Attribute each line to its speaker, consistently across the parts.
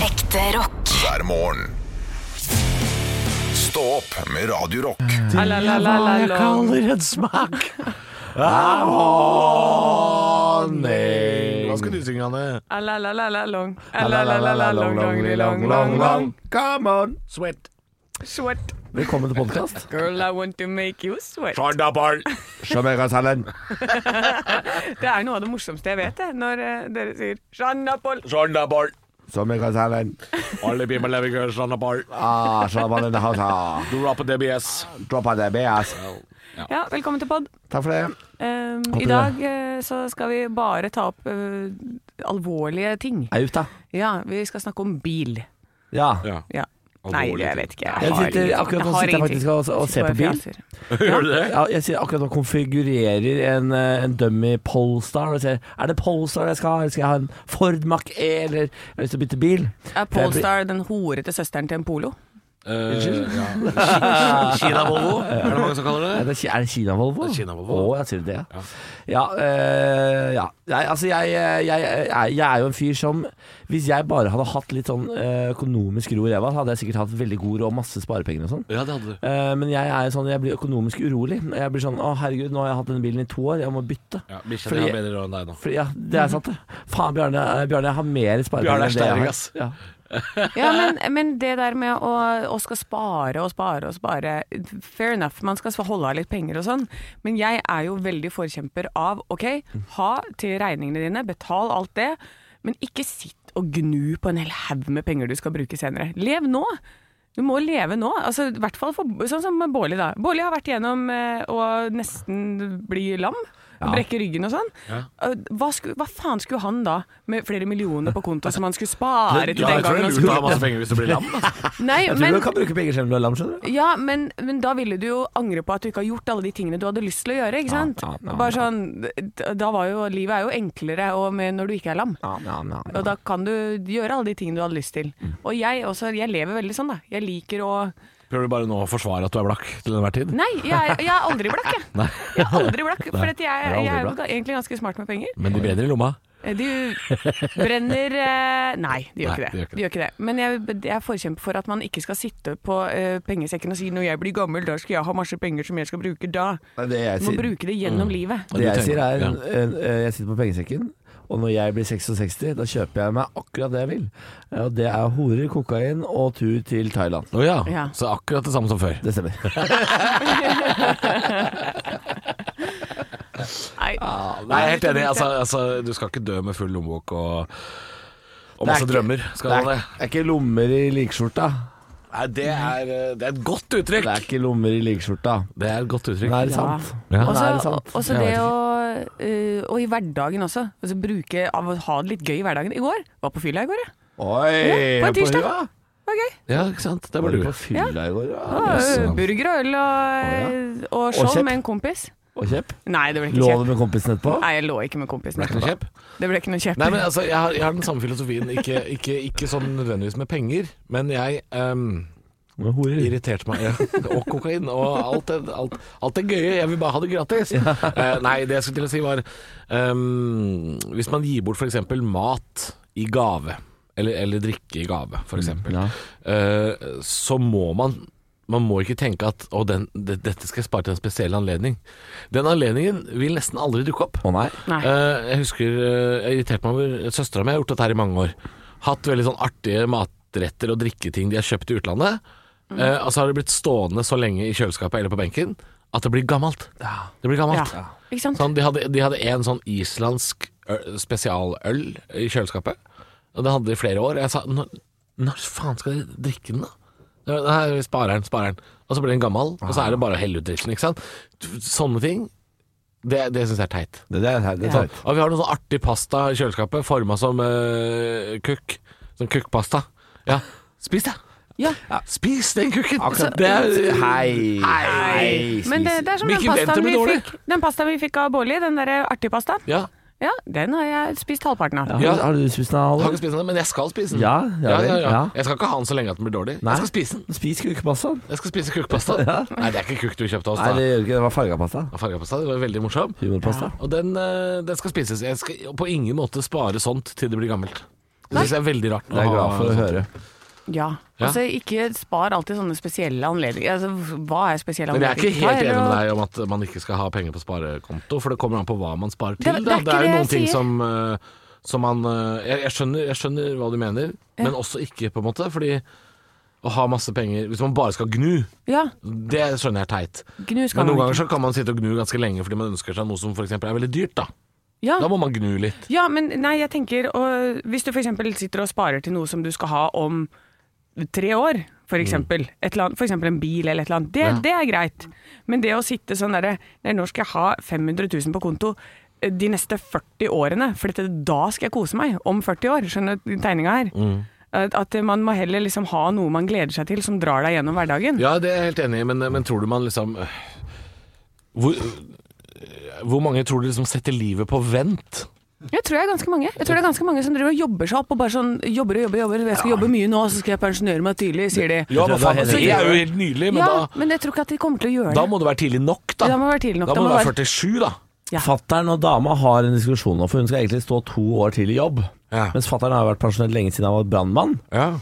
Speaker 1: Ekte rock.
Speaker 2: hver morgen. Stå opp med Radio Rock.
Speaker 3: Jeg kaller en smak av honning. Hva skal du synge, Anne?
Speaker 4: Ah, Alalalalalong.
Speaker 3: Come on, sweat.
Speaker 4: Sweat.
Speaker 3: Velkommen til podkast.
Speaker 4: Girl, I want to make you sweat.
Speaker 3: Sjandabal, sjamerasalem,
Speaker 4: Det er noe av det morsomste jeg vet, det, når eh, dere sier Jean-Napol.
Speaker 3: sjandabal. Sjamerasalem. Alle people living in sjandabal. Ah, sjandabal in the house, ah. Drop a DBS. Drop a DBS.
Speaker 4: Ja, velkommen til pod.
Speaker 3: Takk for det.
Speaker 4: Um,
Speaker 3: Håper
Speaker 4: I dag eh, så skal vi bare ta opp eh, alvorlige ting.
Speaker 3: Auta.
Speaker 4: Ja, vi skal snakke om bil.
Speaker 3: Ja.
Speaker 4: Ja. Nei, jeg vet ikke.
Speaker 3: Jeg
Speaker 4: har
Speaker 3: sitter-
Speaker 4: ingenting.
Speaker 3: akkurat
Speaker 4: Jeg har
Speaker 3: nå sitter jeg
Speaker 4: ingenting.
Speaker 3: faktisk og- og ser
Speaker 4: Sitter
Speaker 3: på
Speaker 4: bare
Speaker 3: bil.
Speaker 4: fjaser.
Speaker 5: Gjør du det?
Speaker 3: Ja, jeg sier akkurat nå konfigurerer en, eh, en dummy Polestar. Og sier, er det Polestar jeg skal ha, eller skal jeg ha en Ford Mach E, eller jeg har lyst til å bytte bil?
Speaker 4: Er Polestar den horete søsteren til en polo?
Speaker 5: Eh, ja. Kina-Volvo, er det mange som kaller det?
Speaker 3: Er det, Ki- er det Kina Volvo?
Speaker 5: Det er Kina Volvo.
Speaker 3: Å, jeg sier det, ja. Ja, eh, ja. Jeg, altså, jeg, jeg, jeg, er- jeg er jo en fyr som Hvis jeg bare hadde hatt litt sånn eh, økonomisk ro i ræva, så hadde jeg sikkert hatt veldig god råd, masse sparepenger og sånn.
Speaker 5: Ja, det hadde du.
Speaker 3: Eh, men jeg er sånn, jeg blir økonomisk urolig. Jeg blir sånn Å, herregud, nå har jeg hatt denne bilen i to år, jeg må bytte.
Speaker 5: Ja, Bikkja
Speaker 3: Fordi-
Speaker 5: di har bedre råd enn deg nå.
Speaker 3: For, ja, det er sant det. Faen, Bjarne, eh, Bjarne jeg har mer
Speaker 5: Bjarne er
Speaker 3: sparepenger enn det jeg
Speaker 5: sterk,
Speaker 3: har.
Speaker 5: ass.
Speaker 3: Ja.
Speaker 4: Ja, men, men det der med å, å skal spare og spare og spare Fair enough, man skal holde av litt penger og sånn. Men jeg er jo veldig forkjemper av OK, ha til regningene dine, betal alt det. Men ikke sitt og gnu på en hel haug med penger du skal bruke senere. Lev nå! Du må leve nå. Altså, I hvert fall for, sånn som Bårli, da. Bårli har vært igjennom eh, å nesten bli lam.
Speaker 3: Ja.
Speaker 4: Brekke ryggen og sånn. Eh, Hva, sku, hva faen skulle han da med flere millioner på konto som han skulle spare til
Speaker 5: Ja,
Speaker 4: den
Speaker 5: jeg tror det
Speaker 4: gangen han
Speaker 5: er
Speaker 4: skulle
Speaker 5: lurt å ha masse penger hvis du blir lam. ass.
Speaker 4: Nei,
Speaker 3: Jeg tror
Speaker 4: men,
Speaker 3: du kan bruke penger selv om du er lam, skjønner du.
Speaker 4: ja, men, men da ville du jo angre på at du ikke har gjort alle de tingene du hadde lyst til å gjøre. ikke sant?
Speaker 3: ja, ja,
Speaker 4: Bare
Speaker 3: ja.
Speaker 4: sånn, d- da var jo, Livet er jo enklere og med, når du ikke er lam.
Speaker 3: Ja, ja, ja, ja.
Speaker 4: Og da kan du gjøre alle de tingene du hadde lyst til.
Speaker 3: Mm.
Speaker 4: Og jeg også, jeg lever veldig sånn, da. Jeg liker å
Speaker 5: Prøver du bare nå å forsvare at du er blakk til enhver tid?
Speaker 4: Nei, jeg, er- jeg er aldri blakk, jeg. Jeg er aldri blakk, For at jeg,
Speaker 5: er
Speaker 4: jeg,
Speaker 5: aldri
Speaker 4: er jo
Speaker 5: blakk.
Speaker 4: ga- egentlig ganske smart med penger.
Speaker 5: Men de bedre i lomma.
Speaker 4: Du Eh, brenner eh, Nei, de
Speaker 5: Nei,
Speaker 4: gjør, ikke det. de gjør ikke det. Men jeg, jeg er forkjemper for at man ikke skal sitte på eh, pengesekken og si når jeg blir gammel, da skal jeg ha masse penger som jeg skal bruke da.
Speaker 3: Nei, Det jeg
Speaker 4: Du må
Speaker 3: sier,
Speaker 4: bruke det gjennom livet.
Speaker 3: det jeg,
Speaker 5: Du tenker-
Speaker 3: sier er
Speaker 5: ja.
Speaker 3: eh, eh, Jeg sitter på pengesekken, og når jeg blir 66, da kjøper jeg meg akkurat det jeg vil. Eh, Og det er horer, kokain og tur til Thailand.
Speaker 5: Å ja.
Speaker 4: Ja.
Speaker 5: Så akkurat det samme som før.
Speaker 3: Det stemmer.
Speaker 4: Nei.
Speaker 5: Nei, jeg er helt enig. Altså, altså, du skal ikke dø med full lommebok og, og
Speaker 3: Det er
Speaker 5: masse
Speaker 3: ikke-
Speaker 5: drømmer. Skal du
Speaker 3: det,
Speaker 5: ha
Speaker 3: er,
Speaker 5: det?
Speaker 3: det er ikke lommer i likskjorta.
Speaker 5: Nei, det er, eh, det er et godt uttrykk.
Speaker 3: Det er ikke lommer i likskjorta.
Speaker 5: Det er et godt
Speaker 3: Men
Speaker 5: uttrykk.
Speaker 3: er
Speaker 4: Ja.
Speaker 3: det sant?
Speaker 5: Ja.
Speaker 3: Men er det
Speaker 4: Også,
Speaker 3: sant?
Speaker 4: også
Speaker 5: Jeg
Speaker 4: det
Speaker 5: vet
Speaker 4: å eh, Og i hverdagen også. Altså bruke av å ha det litt gøy i hverdagen. I går var på fylla i går, jeg.
Speaker 3: Oi!
Speaker 4: Ja, på en tirsdag.
Speaker 3: hylla?
Speaker 4: Det var gøy.
Speaker 5: Ja, ikke sant. Det
Speaker 3: Var
Speaker 5: var
Speaker 3: du
Speaker 5: du.
Speaker 3: på fylla i går?
Speaker 4: Det
Speaker 3: Ja.
Speaker 4: var,
Speaker 5: Yes.
Speaker 4: eh, Burger og øl og, og
Speaker 3: Og
Speaker 4: show
Speaker 3: kjepp.
Speaker 4: med en kompis.
Speaker 3: Og kjepp?
Speaker 4: Nei, det ble ikke
Speaker 3: Lå du
Speaker 4: kjepp.
Speaker 3: med kompisen etterpå?
Speaker 4: Nei, jeg lå ikke med kompisen.
Speaker 5: Ble ikke noe kjepp?
Speaker 4: Det ble ikke noe kjepp.
Speaker 5: Nei, men altså, jeg har, jeg har den samme filosofien. Ikke, ikke, ikke sånn nødvendigvis med penger, men jeg ehm,
Speaker 3: Med horer.
Speaker 5: irriterte meg. Ja. Og kokain og alt det, alt, alt det gøye. Jeg vil bare ha det gratis. Eh, nei, det jeg skulle til å si var ehm, Hvis man gir bort f.eks. mat i gave, eller, eller drikke i gave, f.eks.,
Speaker 3: Ja.
Speaker 5: eh, så må man man må ikke tenke at å, den, det, 'dette skal jeg spare til en spesiell anledning'. Den anledningen vil nesten aldri dukke opp.
Speaker 3: Å nei.
Speaker 4: Nei.
Speaker 5: Eh, jeg husker eh, Jeg irriterte meg over Søstera mi har gjort dette her i mange år. Hatt veldig sånn artige matretter og drikketing de har kjøpt i utlandet.
Speaker 4: Mm.
Speaker 5: Eh, og så har det blitt stående så lenge i kjøleskapet eller på benken at det blir gammelt. Det blir gammelt.
Speaker 4: Ja. Ikke sant?
Speaker 5: Sånn, de, hadde, de hadde en sånn islandsk ø- spesialøl i kjøleskapet. Og det hadde de i flere år. Jeg sa "Når- når faen skal dere drikke den, da? Nei, sparer den, sparer den. Og så blir den gammel, og så er det bare å helle ut dritten. Ikke sant? Sånne ting, det, det syns jeg er teit.
Speaker 3: Det, det er det er
Speaker 4: Ja.
Speaker 3: teit.
Speaker 5: Og vi har noe sånn artig pasta i kjøleskapet, forma som eh, kukk. Sånn kukkpasta. Ja, spis det!
Speaker 4: Ja.
Speaker 5: Spis den kukken!
Speaker 3: Akkurat.
Speaker 5: det er,
Speaker 3: Hei.
Speaker 4: Nei, men det, det er som den
Speaker 5: Hvilken
Speaker 4: pastaen,
Speaker 5: venter
Speaker 4: vi
Speaker 5: blir dårlig?
Speaker 4: fikk, den pastaen vi fikk av Bårli, den derre artige pastaen.
Speaker 5: ja,
Speaker 4: Ja, den har jeg spist halvparten av.
Speaker 3: Ja,
Speaker 5: Ja.
Speaker 3: har- Har du spist den,
Speaker 5: jeg har
Speaker 3: Halvor?
Speaker 5: ikke spist den, men jeg skal spise den.
Speaker 3: Ja, ja,
Speaker 5: ja, ja,
Speaker 3: vel, ja.
Speaker 5: Jeg skal ikke ha den så lenge at den blir dårlig.
Speaker 3: Nei.
Speaker 5: Jeg skal spise den.
Speaker 3: Spis kukepastaen.
Speaker 5: Jeg skal spise kukkpasta. Nei, det er ikke kukk du kjøpte hos
Speaker 3: Nei,
Speaker 5: oss,
Speaker 3: det
Speaker 5: da.
Speaker 3: gjør du ikke. Det var farga pasta.
Speaker 5: Fargapasta, det var veldig morsom.
Speaker 3: Humorpasta.
Speaker 5: Og den, eh, den skal spises. Jeg skal på ingen måte spare sånt til det blir gammelt. Det synes jeg er veldig rart.
Speaker 3: Det er jeg glad for å høre.
Speaker 4: Ja.
Speaker 5: Ja.
Speaker 4: Altså, ikke spar alltid sånne spesielle anledninger. Altså, hva er spesielle
Speaker 5: Men jeg er
Speaker 4: anledninger?
Speaker 5: ikke helt
Speaker 4: Hva er
Speaker 5: enig med
Speaker 4: å-
Speaker 5: deg om at man ikke skal ha penger på sparekonto, for det kommer an på hva man sparer
Speaker 4: Det-
Speaker 5: til.
Speaker 4: det er
Speaker 5: Da.
Speaker 4: ikke
Speaker 5: Det er jo
Speaker 4: det jeg
Speaker 5: noen ting
Speaker 4: sier.
Speaker 5: som, eh, som man eh, jeg, jeg, skjønner, jeg skjønner hva du mener, men også ikke, på en måte. Fordi å ha masse penger Hvis man bare skal gnu,
Speaker 4: Ja,
Speaker 5: det skjønner jeg er teit.
Speaker 4: gnu skal
Speaker 5: Men noen
Speaker 4: man
Speaker 5: ganger
Speaker 4: ikke.
Speaker 5: så kan man sitte og gnu ganske lenge fordi man ønsker seg noe som f.eks. er veldig dyrt. Da
Speaker 4: Ja.
Speaker 5: Da må man gnu litt.
Speaker 4: ja, men nei, jeg tenker og, Hvis du f.eks. sitter og sparer til noe som du skal ha om tre år, f.eks. F.eks. en bil eller et eller annet. Det,
Speaker 5: Mm. Ja.
Speaker 4: det er greit. Men det å sitte sånn derre Nei, nå skal jeg ha 500 000 på konto eh, de neste 40 årene, for dette, da skal jeg kose meg. Om 40 år. Skjønner du tegninga her?
Speaker 5: Mm.
Speaker 4: At at man må heller liksom ha noe man gleder seg til, som drar deg gjennom hverdagen.
Speaker 5: Ja, det er jeg helt enig i, men, men tror du man liksom øh, hvor, øh, hvor mange tror du liksom setter livet på vent?
Speaker 4: Jeg tror jeg er ganske mange. Jeg tror det er ganske mange som driver og jobber seg opp og bare sånn jobber og jobber. og jobber. Jeg skal jobbe mye nå, så skal jeg pensjonere meg tidlig, sier de.
Speaker 5: Ja, altså,
Speaker 3: men faen,
Speaker 5: det er jo helt nydelig, men
Speaker 4: ja,
Speaker 5: da
Speaker 4: men jeg tror ikke at de kommer til å gjøre
Speaker 5: Da
Speaker 4: det.
Speaker 5: må du være tidlig nok, da.
Speaker 4: Da må du være tidlig nok,
Speaker 5: Da
Speaker 4: da
Speaker 5: må
Speaker 4: må
Speaker 5: du være
Speaker 4: være-
Speaker 5: 47, da.
Speaker 4: Ja.
Speaker 3: Fattern og dama har en diskusjon nå, for hun skal egentlig stå to år til i jobb.
Speaker 5: Ja.
Speaker 3: Mens fattern har jo vært pensjonert lenge siden han var brannmann.
Speaker 5: Ja.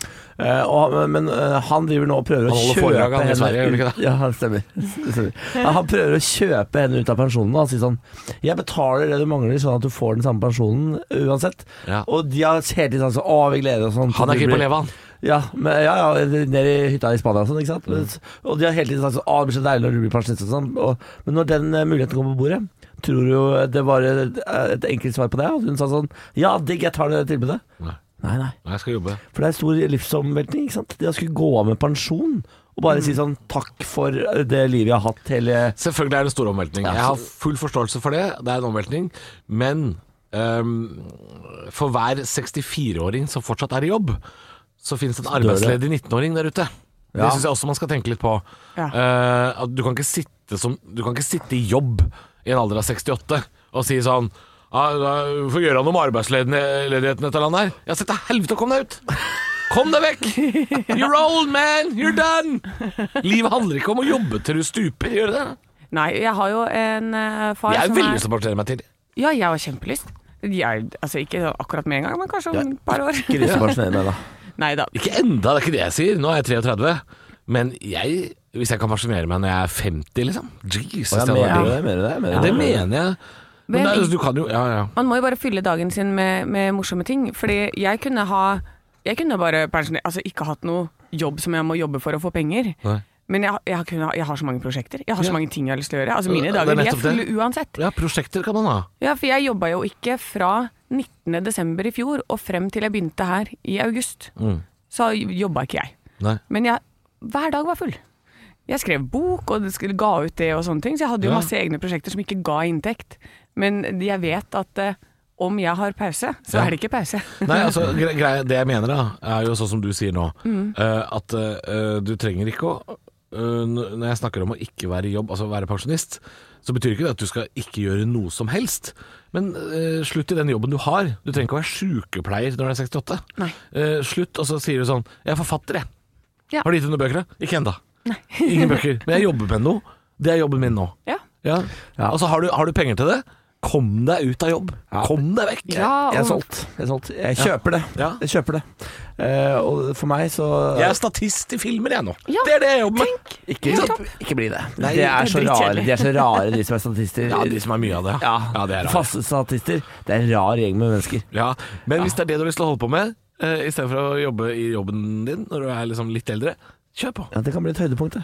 Speaker 3: Eh, og, men eh, han driver nå og prøver å
Speaker 5: Han holder
Speaker 3: kjøpe
Speaker 5: foredrag, han, i
Speaker 3: henne
Speaker 5: Sverige, gjør han ikke
Speaker 3: ut- Ja, han stemmer. Det stemmer. Ja, Han prøver å kjøpe henne ut av pensjonen. og Han sier sånn Jeg betaler det du mangler, sånn at du får den samme pensjonen uansett.
Speaker 5: Ja.
Speaker 3: Og de har hele tiden sånn Å, vi gleder oss sånn.
Speaker 5: Han er
Speaker 3: til du
Speaker 5: keen på å
Speaker 3: blir-
Speaker 5: leve, han.
Speaker 3: Ja, men, ja, ja ned i hytta i Spania og sånn, ikke sant.
Speaker 5: Mm.
Speaker 3: Og de har hele tiden sagt sånn Å, det blir så deilig når du blir pensjonist og sånn. Og, men når den eh, muligheten kom på bordet, tror du jo det var et, et enkelt svar på det? Og hun sa sånn Ja, digg, jeg tar det tilbudet.
Speaker 5: Nei,
Speaker 3: Nei, nei.
Speaker 5: Nei, jeg skal jobbe.
Speaker 3: For det er stor livsomveltning. ikke sant? Det å skulle gå av med pensjon og
Speaker 5: Mm.
Speaker 3: bare si sånn takk for det livet jeg har hatt hele
Speaker 5: Selvfølgelig er det en stor omveltning.
Speaker 3: Ja,
Speaker 5: Jeg har
Speaker 3: så-
Speaker 5: full forståelse for det. Det er en omveltning. Men ehm, for hver 64-åring som fortsatt er i jobb, så finnes det en
Speaker 3: dør det.
Speaker 5: arbeidsledig 19-åring der ute. Det
Speaker 3: Ja.
Speaker 5: syns jeg også man skal tenke litt på.
Speaker 4: Ja.
Speaker 5: Eh, at du, kan ikke sitte som, du kan ikke sitte i jobb i en alder av 68 og si sånn «Ja, da får vi gjøre noe med arbeidsledigheten i dette landet her. Ja, sett til helvete, kom deg ut! Kom deg vekk! You're old, man! You're done! Livet handler ikke om å jobbe til du stuper, gjør det det?
Speaker 4: Nei, jeg har jo en eh, far
Speaker 5: Jeg er
Speaker 4: som
Speaker 5: veldig sånn- lyst til å pensjonere meg til.
Speaker 4: Ja, jeg har kjempelyst. Jeg, altså ikke akkurat med en gang, men kanskje om et par år.
Speaker 3: Ikke lyst til å pensjonere meg, da.
Speaker 4: Nei da.
Speaker 5: Ikke enda, det er ikke det jeg sier. Nå er jeg 33. Men jeg, hvis jeg kan pensjonere meg når jeg er 50, liksom Jesus,
Speaker 3: Og jeg
Speaker 5: det hadde vært
Speaker 3: mener
Speaker 5: digg.
Speaker 3: det. Jeg mener det, jeg mener
Speaker 5: Ja, det mener jeg. Men
Speaker 4: Men-
Speaker 5: det er, jo- du kan jo Ja, ja.
Speaker 4: Man må jo bare fylle dagen sin med, med morsomme ting. Fordi jeg kunne ha Jeg kunne bare pensjonert Altså ikke hatt noe jobb som jeg må jobbe for å få penger.
Speaker 5: Nei.
Speaker 4: Men jeg, jeg, kunne, jeg har så mange prosjekter. Jeg har
Speaker 5: Ja.
Speaker 4: så mange ting jeg har lyst til å gjøre. Altså
Speaker 5: Ja, det
Speaker 4: Mine
Speaker 5: er
Speaker 4: dager de er
Speaker 5: nettopp det.
Speaker 4: fulle uansett.
Speaker 5: ja, prosjekter kan man ha.
Speaker 4: Ja, For jeg jobba jo ikke fra 19.12. i fjor og frem til jeg begynte her i august. Så jobba ikke jeg.
Speaker 5: Mm. Nei.
Speaker 4: Men jeg, hver dag var full. Jeg skrev bok og det skulle- ga ut det og sånne ting, så jeg hadde jo
Speaker 5: Ja.
Speaker 4: masse egne prosjekter som ikke ga inntekt. Men jeg vet at eh, om jeg har pause, så
Speaker 5: Ja.
Speaker 4: er det ikke pause.
Speaker 5: Nei, altså, gre greia- Det jeg mener, da, er jo sånn som du sier nå.
Speaker 4: Mm.
Speaker 5: eh, at eh, du trenger ikke å eh, n- Når jeg snakker om å ikke være i jobb, altså være pensjonist, så betyr ikke det at du skal ikke gjøre noe som helst. Men eh, slutt i den jobben du har. Du trenger ikke å være sykepleier når du er 68.
Speaker 4: Nei.
Speaker 5: Eh, slutt, og så sier du sånn 'Jeg er forfatter, jeg'.
Speaker 4: Ja.
Speaker 5: Har du gitt ut noen bøker, da? Ikke ennå. Ingen bøker. Men jeg jobber med noe. Det er jobben min nå.
Speaker 4: Ja.
Speaker 5: Ja.
Speaker 3: Ja.
Speaker 5: Altså, har du, har du penger til det? Kom deg ut av jobb.
Speaker 3: Ja.
Speaker 5: Kom deg vekk.
Speaker 4: Ja,
Speaker 3: Jeg er
Speaker 4: og-
Speaker 3: solgt. Jeg, er solgt. jeg kjøper det.
Speaker 5: Ja.
Speaker 3: Jeg kjøper det. Eh, og for meg så
Speaker 5: Jeg er statist i filmer, jeg nå.
Speaker 4: Ja,
Speaker 5: Det er det jeg jobber med.
Speaker 3: ikke,
Speaker 4: helt topp.
Speaker 3: ikke bli det.
Speaker 5: Nei,
Speaker 3: det er
Speaker 5: det
Speaker 3: så
Speaker 5: er
Speaker 3: rare,
Speaker 5: dritkjedelig.
Speaker 3: de er så rare, de som er statister.
Speaker 5: Ja, de som er mye av det.
Speaker 3: Ja.
Speaker 5: ja det er rart.
Speaker 3: Faste statister. Det er en rar gjeng med mennesker.
Speaker 5: Ja. Men hvis det er det du har lyst til å holde på med, eh, i stedet for å jobbe i jobben din når du er liksom litt eldre, kjør på.
Speaker 3: Ja, Det kan bli et høydepunkt, det.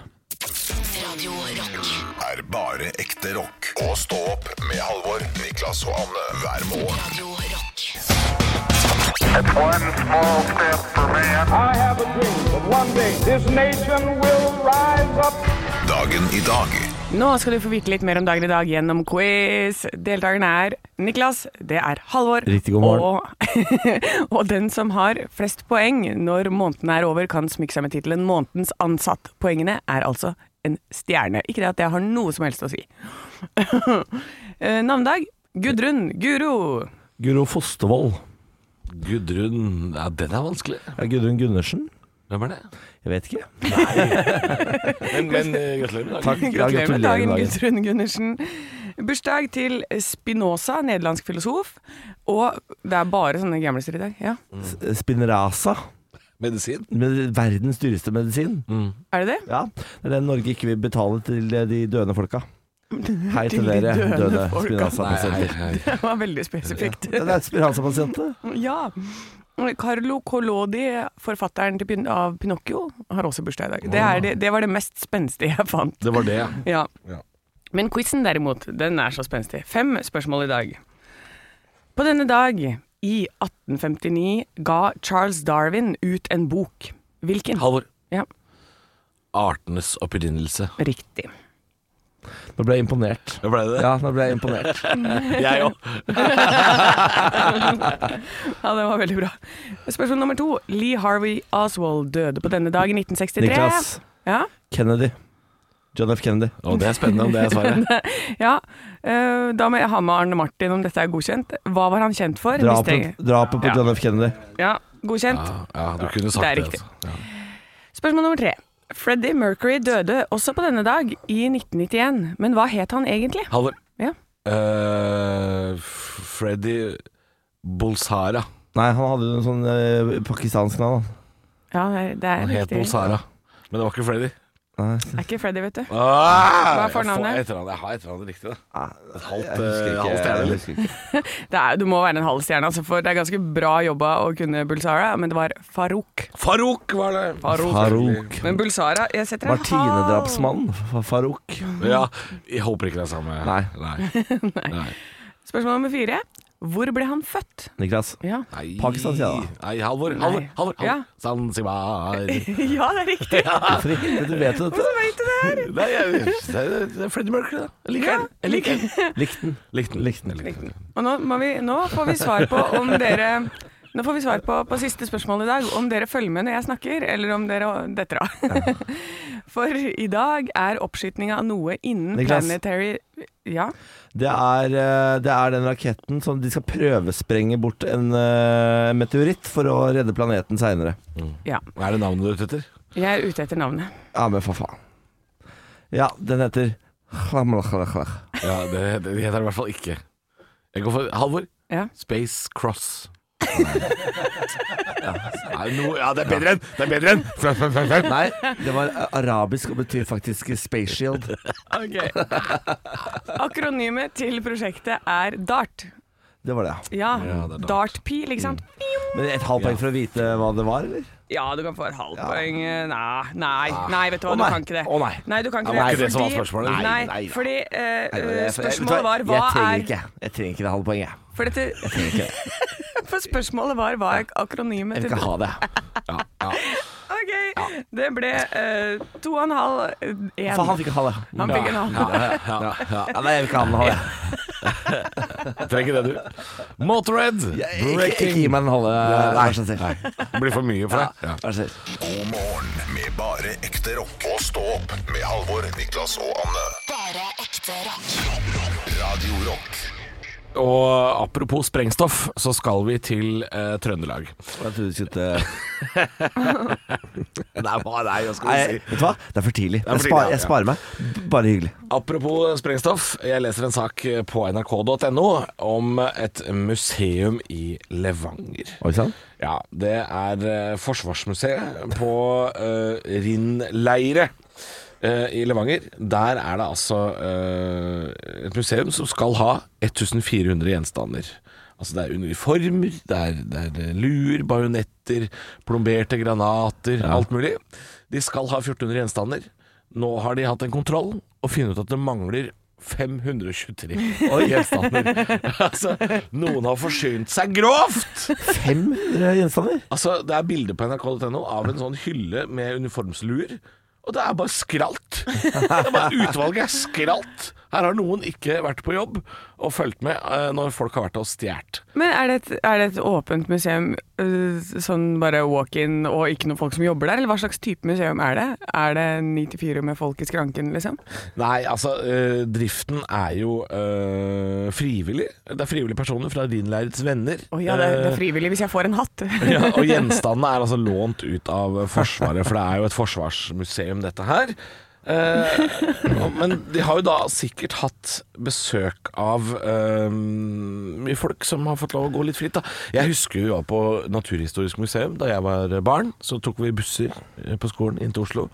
Speaker 1: Radio Rock.
Speaker 2: er bare ekte rock. Og stå opp med Halvor, Niklas og Anne hver morgen.
Speaker 1: Radio Rock.
Speaker 6: It's one small step for man.
Speaker 7: I have a dream that one day this nation will rise up.
Speaker 2: Dagen i dag
Speaker 4: Nå skal du få vite litt mer om dagen i dag gjennom quiz. Deltakerne er Niklas, det er Halvor.
Speaker 3: Riktig god morgen.
Speaker 4: Og, og den som har flest poeng når måneden er over, kan smykke seg med tittelen 'Månedens ansatt'. Poengene er altså en stjerne. Ikke det at det har noe som helst å si. Eh, Navnedag Gudrun Guro.
Speaker 3: Guro Fostervoll.
Speaker 5: Gudrun Ja, den er vanskelig.
Speaker 3: Ja, Gudrun Gundersen.
Speaker 5: Hvem er det?
Speaker 3: Jeg vet ikke.
Speaker 5: Men, men eh, gratulerer med dagen.
Speaker 3: Takk. Ja,
Speaker 4: Gratulerer med dagen,
Speaker 3: med dagen.
Speaker 4: Gudrun Gundersen. Bursdag til Spinoza, nederlandsk filosof. Og det er bare sånne gamliser i dag. Ja.
Speaker 3: Spinraza.
Speaker 5: Medisin?
Speaker 3: Med verdens dyreste medisin.
Speaker 4: Er det det?
Speaker 3: Ja, Det er den Norge ikke vil betale til de døende folka. Hei til,
Speaker 4: Til de
Speaker 3: dere
Speaker 4: døende
Speaker 3: døde,
Speaker 4: folka.
Speaker 3: Spinraza-pasienter.
Speaker 5: Eh,
Speaker 4: Det var veldig spesifikt.
Speaker 3: Det er Spinraza-pasienter.
Speaker 4: Ja. Carlo Collodi, forfatteren til Pin av Pinocchio, har også bursdag i dag. Det, er det, det var det mest spenstige jeg fant.
Speaker 5: Det var det, ja.
Speaker 4: Ja. Men quizen derimot, den er så spenstig. Fem spørsmål i dag. På denne dag i 1859 ga Charles Darwin ut en bok. Hvilken?
Speaker 5: Halvor.
Speaker 4: Ja,
Speaker 5: Artenes opprinnelse.
Speaker 4: riktig.
Speaker 3: Nå ble jeg imponert.
Speaker 5: Ble det
Speaker 3: Ja, nå ble jeg imponert.
Speaker 5: Jeg òg.
Speaker 4: Ja, det var veldig bra. Spørsmål nummer to. Lee Harvey Oswald døde på denne dag i 1963.
Speaker 3: Niklas.
Speaker 4: Ja,
Speaker 3: Kennedy. John F. Kennedy.
Speaker 5: det er spennende om det er svaret.
Speaker 4: ja. Eh, Da må jeg ha med Arne Martin om dette er godkjent. Hva var han kjent for?
Speaker 3: Drapet,
Speaker 4: Mistenker-
Speaker 3: drapet på
Speaker 4: Ja.
Speaker 3: John F. Kennedy.
Speaker 4: Ja, godkjent.
Speaker 5: Ja, ja, du kunne sagt det.
Speaker 4: Det
Speaker 5: altså.
Speaker 4: er riktig. Spørsmål nummer tre. Freddie Mercury døde også på denne dag i 1991, men hva het han egentlig?
Speaker 5: Halvor.
Speaker 4: Ja.
Speaker 5: Eh, F- Freddy Bolsara.
Speaker 3: Nei, han hadde jo en sånn eh, pakistansk navn.
Speaker 4: Ja, det er
Speaker 5: Han het
Speaker 4: riktig.
Speaker 5: Bolsara. Men det var ikke Freddy.
Speaker 3: han.
Speaker 4: Det er ikke Freddy, vet du.
Speaker 5: Hva
Speaker 4: er
Speaker 5: Ah, Jeg,
Speaker 4: fornavnet?
Speaker 5: får etternavnet. jeg har etternavnet riktig, da.
Speaker 3: Nei,
Speaker 5: Et halvt,
Speaker 3: jeg husker
Speaker 5: eh,
Speaker 3: ikke-
Speaker 5: halv stjerne,
Speaker 3: jeg
Speaker 5: eller?
Speaker 3: husker ikke.
Speaker 4: Det er, du må være en halv stjerne, altså, for det er ganske bra jobba å kunne Bulsara, men det var Farouk.
Speaker 5: Farouk var det.
Speaker 3: Farouk.
Speaker 4: Men Bulsara Jeg setter en
Speaker 3: Martinedrapsmannen. Fa- Farouk.
Speaker 5: Ja, jeg håper ikke det er samme.
Speaker 3: Nei.
Speaker 5: Nei. Nei.
Speaker 4: halv. Spørsmål nummer fire. Hvor ble han født?
Speaker 3: Niklas.
Speaker 4: Ja,
Speaker 5: Nei.
Speaker 3: Pakistan, sier jeg
Speaker 5: Nei, Halvor. Halvor.
Speaker 4: Nei.
Speaker 5: Halvor. Halvor.
Speaker 4: Ja.
Speaker 5: Zanzibar.
Speaker 4: ja det er riktig.
Speaker 3: Hvorfor i helvete vet du dette?
Speaker 4: Vet du det her?
Speaker 5: Nei, jeg, det er- det er Freddie Mercury, da. Jeg liker den. Jeg liker den.
Speaker 3: Likte den.
Speaker 5: Likte den.
Speaker 3: Likte den.
Speaker 5: Jeg likte den.
Speaker 4: Og nå, må vi, nå får vi svar på om dere Nå får vi svar på, på siste spørsmål i dag, om dere følger med når jeg snakker, eller om dere detter av. For i dag er oppskytinga av noe innen
Speaker 3: Niklas.
Speaker 4: planetary Ja,
Speaker 3: Det er, eh, det er den raketten som de skal prøvesprenge bort en eh, meteoritt for å redde planeten seinere.
Speaker 4: ja.
Speaker 5: Er det navnet du er ute etter?
Speaker 4: Jeg er ute etter navnet.
Speaker 3: Ja, men for faen. Ja, den heter Khamlakhalakhalak.
Speaker 5: Ja, det, det heter det i hvert fall ikke. Jeg går for Halvor.
Speaker 4: Ja.
Speaker 5: Space Cross. Nei, no, ja, det er bedre enn! Det er bedre enn! Flaut, flaut, flaut, flaut.
Speaker 3: Nei, det var arabisk og betyr faktisk space shield.
Speaker 4: Akronymet til prosjektet er DART.
Speaker 3: Det var det, ja.
Speaker 4: Ja,
Speaker 5: det er DART.
Speaker 4: DART-pil, ikke sant?
Speaker 3: Men et halvt poeng for å vite hva det var, eller?
Speaker 4: Ja, du kan få et halvt poeng. Nei, nei, nei, vet du hva,
Speaker 3: Å,
Speaker 4: du
Speaker 3: nei.
Speaker 4: kan ikke det.
Speaker 3: Å, nei.
Speaker 4: du kan ikke
Speaker 5: Det var
Speaker 4: det.
Speaker 5: ikke det som var
Speaker 4: fordi-
Speaker 5: spørsmålet. Nei,
Speaker 4: Nei,
Speaker 5: nei, nei.
Speaker 4: fordi eh,
Speaker 3: Vet
Speaker 4: spørsmålet
Speaker 3: du hva?
Speaker 4: var hva
Speaker 3: Jeg trenger
Speaker 4: er
Speaker 3: ikke Jeg trenger ikke det halve poenget.
Speaker 4: For dette For spørsmålet var hva er akronymet
Speaker 3: Jeg vil
Speaker 4: til
Speaker 3: ikke ha det.
Speaker 4: Ok, det ble eh, to og en halv eh, en.
Speaker 3: Faen, han fikk ikke ha det.
Speaker 4: Han fikk en halv.
Speaker 5: Ja, ja.
Speaker 3: Ja, nei, jeg vil ikke ha den halve.
Speaker 5: Trenger ikke det, du. Motorhead.
Speaker 3: Ikke, ikke gi meg den halve,
Speaker 5: Nei,
Speaker 3: vær så snill.
Speaker 5: nei. Det blir for mye for deg. Ja.
Speaker 3: Vær så snill.
Speaker 2: God morgen med bare ekte rock. Og stå opp med Halvor, Niklas og Anne.
Speaker 1: Bare ekte rock.
Speaker 2: Radio Rock.
Speaker 5: Og apropos sprengstoff, så skal vi til eh, Trøndelag.
Speaker 3: Jeg trodde du skulle
Speaker 5: Nei, hva er det jeg
Speaker 3: Nei,
Speaker 5: skulle si?
Speaker 3: vet du hva? Det er for tidlig.
Speaker 5: er
Speaker 3: Jeg,
Speaker 5: for tidlig,
Speaker 3: spar,
Speaker 5: ja.
Speaker 3: jeg sparer meg. Bare hyggelig.
Speaker 5: Apropos sprengstoff, jeg leser en sak på nrk.no om et museum i Levanger.
Speaker 3: Oi sann.
Speaker 5: Ja, det er eh, Forsvarsmuseet på eh, Rinn-leire eh, i Levanger. Der er det altså eh, et museum som skal ha 1400 gjenstander. Altså det er uniformer, det er, det er eh, luer, bajonetter, plomberte granater, alt mulig. De skal ha 1400 gjenstander. Nå har de hatt en kontroll og funnet ut at det mangler 523 gjenstander. altså, noen har forsynt seg grovt!
Speaker 3: 500 gjenstander?
Speaker 5: Altså, Det er bilder på nrk.no av en sånn hylle med uniformsluer. Og det er bare skralt. Det er bare Utvalget er skralt. Her har noen ikke vært på jobb og fulgt med eh, når folk har vært og stjålet.
Speaker 4: Men er det, et, er det et åpent museum, eh, sånn bare walk-in og ikke noen folk som jobber der, eller hva slags type museum er det? Er det 94 med folk i skranken, liksom?
Speaker 5: Nei, altså eh, driften er jo eh, frivillig. Det er frivillige personer fra Rhinleirets venner.
Speaker 4: Å ja, det, det
Speaker 5: Eh,
Speaker 4: er frivillig hvis jeg får en hatt.
Speaker 5: ja, og gjenstandene er altså lånt ut av Forsvaret, for det er jo et forsvarsmuseum dette her. Eh, men de har jo da sikkert hatt besøk av eh, mye folk som har fått lov å gå litt fritt. Da. Jeg husker vi var på Naturhistorisk museum da jeg var barn. Så tok vi busser eh, på skolen inn til Oslo.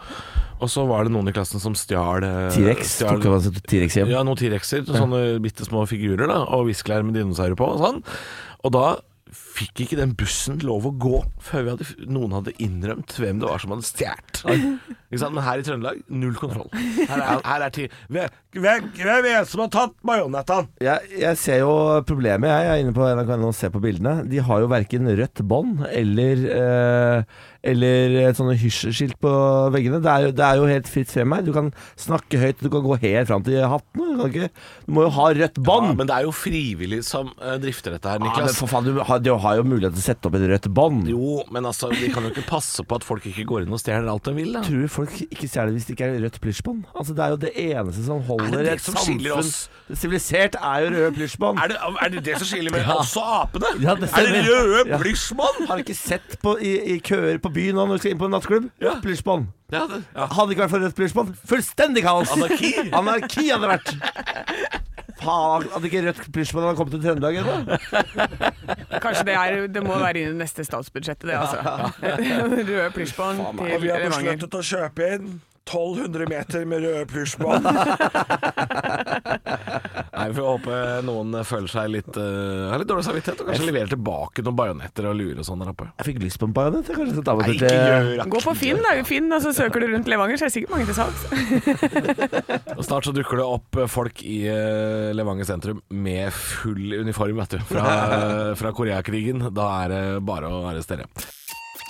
Speaker 5: Og så var det noen i klassen som stjal eh,
Speaker 3: T-rex.
Speaker 5: stjal-
Speaker 3: Tok han seg T-rex hjem?
Speaker 5: ja, noen T-rexer, sånne bitte små figurer da, og viskelær med dinosaurer på og sånn. Og da fikk ikke den bussen lov å gå før vi hadde, noen hadde innrømt hvem det var som hadde stjålet. Ikke sant? Men her i Trøndelag, null kontroll. Her er, her er ti... Hvem, hvem hvem er det som har tatt majonetten?
Speaker 3: Jeg, jeg ser jo problemet. Jeg, jeg er inne på NRK.no og ser på bildene. De har jo verken rødt bånd eller, eh, eller et sånne hysjskilt på veggene. Det er, jo, det er jo helt fritt frem her. Du kan snakke høyt, du kan gå helt fram til hatten. Du, kan ikke, du må jo ha rødt
Speaker 5: Ja,
Speaker 3: bånd!
Speaker 5: men det er jo frivillig som eh, drifter dette her,
Speaker 3: Ja, men
Speaker 5: Niklas.
Speaker 3: for faen, du har, du har jo mulighet til å sette opp et rødt bånd.
Speaker 5: Jo, men altså, de kan jo ikke passe på at folk ikke går inn og stjeler alt de vil, da.
Speaker 3: Tror du folk ikke stjeler hvis det ikke er rødt plysjbånd? Altså, det er jo det eneste som
Speaker 5: Er
Speaker 3: holder
Speaker 5: det det
Speaker 3: et
Speaker 5: som
Speaker 3: samfunn
Speaker 5: skiller oss?
Speaker 3: sivilisert, er jo røde plysjbånd.
Speaker 5: Er det, er det det som skiller mellom oss og apene?
Speaker 3: Ja,
Speaker 5: er
Speaker 3: det
Speaker 5: det
Speaker 3: stemmer.
Speaker 5: røde
Speaker 3: Ja.
Speaker 5: plysjmann?
Speaker 3: Har du ikke sett på, i, i køer på byen nå når du skal inn på en nattklubb?
Speaker 5: Ja.
Speaker 3: Rødt Plysjbånd.
Speaker 5: Ja, det- ja.
Speaker 3: Hadde det ikke vært for rødt plysjbånd, fullstendig kaos!
Speaker 5: Anarki.
Speaker 3: Anarki hadde det vært. Faen, hadde ikke rødt plysjbånd hadde kommet til Trøndelag ennå?
Speaker 4: Kanskje det, er, det må være i det neste statsbudsjettet, det altså. Røde plysjbånd til Levanger.
Speaker 5: å kjøpe inn 1200 meter med røde plysjbånd. Nei, Vi får håpe noen føler seg litt eh, har litt dårlig samvittighet og kanskje leverer tilbake noen bajonetter og lurer og sånn der oppe.
Speaker 3: Jeg fikk lyst på en bajonett. jeg. Kanskje jeg skal ta meg
Speaker 5: Nei,
Speaker 3: tur
Speaker 5: ikke
Speaker 3: til
Speaker 5: gjør det.
Speaker 4: Gå på Finn, da. Finn, og så søker du rundt Levanger, så er det sikkert mange til salgs.
Speaker 5: Og Snart så dukker det opp eh, folk i eh, Levanger sentrum med full uniform vet du, fra, fra Koreakrigen. Da er det bare å arrestere.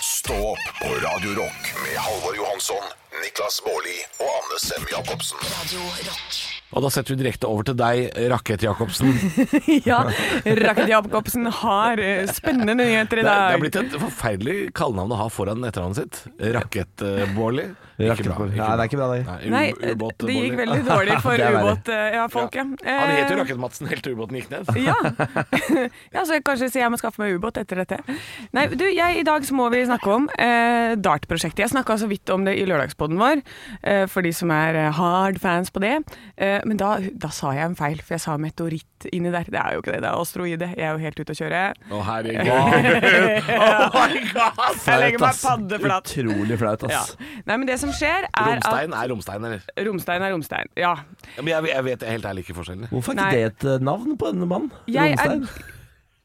Speaker 2: Stå opp på Radio Rock med Halvor Johansson, Niklas Baarli og Anne Sem Jacobsen.
Speaker 1: Radio Rock.
Speaker 5: Og da setter vi direkte over til deg, Rakett Jacobsen.
Speaker 4: Ja, Raket Jacobsen har eh, spennende nyheter i
Speaker 5: Det er, det er
Speaker 4: dag.
Speaker 5: blitt et forferdelig kallenavn å ha foran etternavnet sitt. Rakett-Bårli.
Speaker 3: Rakett-Bårli. Nei, det er ikke bra, det.
Speaker 4: Nei,
Speaker 5: Nei, ubåt
Speaker 4: det gikk
Speaker 5: Bårli.
Speaker 4: veldig Eh, dårlig for
Speaker 3: Det er verre.
Speaker 4: ubåt... eh, Ja, folket.
Speaker 5: Han het jo Rakett-Madsen helt til ubåten gikk ned.
Speaker 4: Ja. ja, så kanskje så jeg må skaffe meg ubåt etter dette. Nei, du, jeg, i dag så må vi snakke om eh, DART-prosjektet. Jeg snakka så vidt om det i lørdagspodden vår, eh, for de som er eh, hard fans på det. Eh, men da, da sa jeg en feil, for jeg sa meteoritt inni der. Det er jo ikke det, det er asteroide. Jeg er jo helt ute å kjøre.
Speaker 5: Og her gikk det.
Speaker 4: oh my god! Jeg legger meg
Speaker 3: ass.
Speaker 4: paddeflat.
Speaker 3: Utrolig flaut,
Speaker 4: Ja.
Speaker 3: ass.
Speaker 4: Nei, men det som skjer, er at
Speaker 5: Romstein er romstein, eller?
Speaker 4: Romstein er romstein. Ja.
Speaker 5: Ja, Men jeg, jeg vet helt ærlig ikke forskjellene.
Speaker 3: Hvorfor er
Speaker 4: Nei.
Speaker 3: ikke det et eh, navn på en mann?
Speaker 4: Jeg er
Speaker 3: Romstein?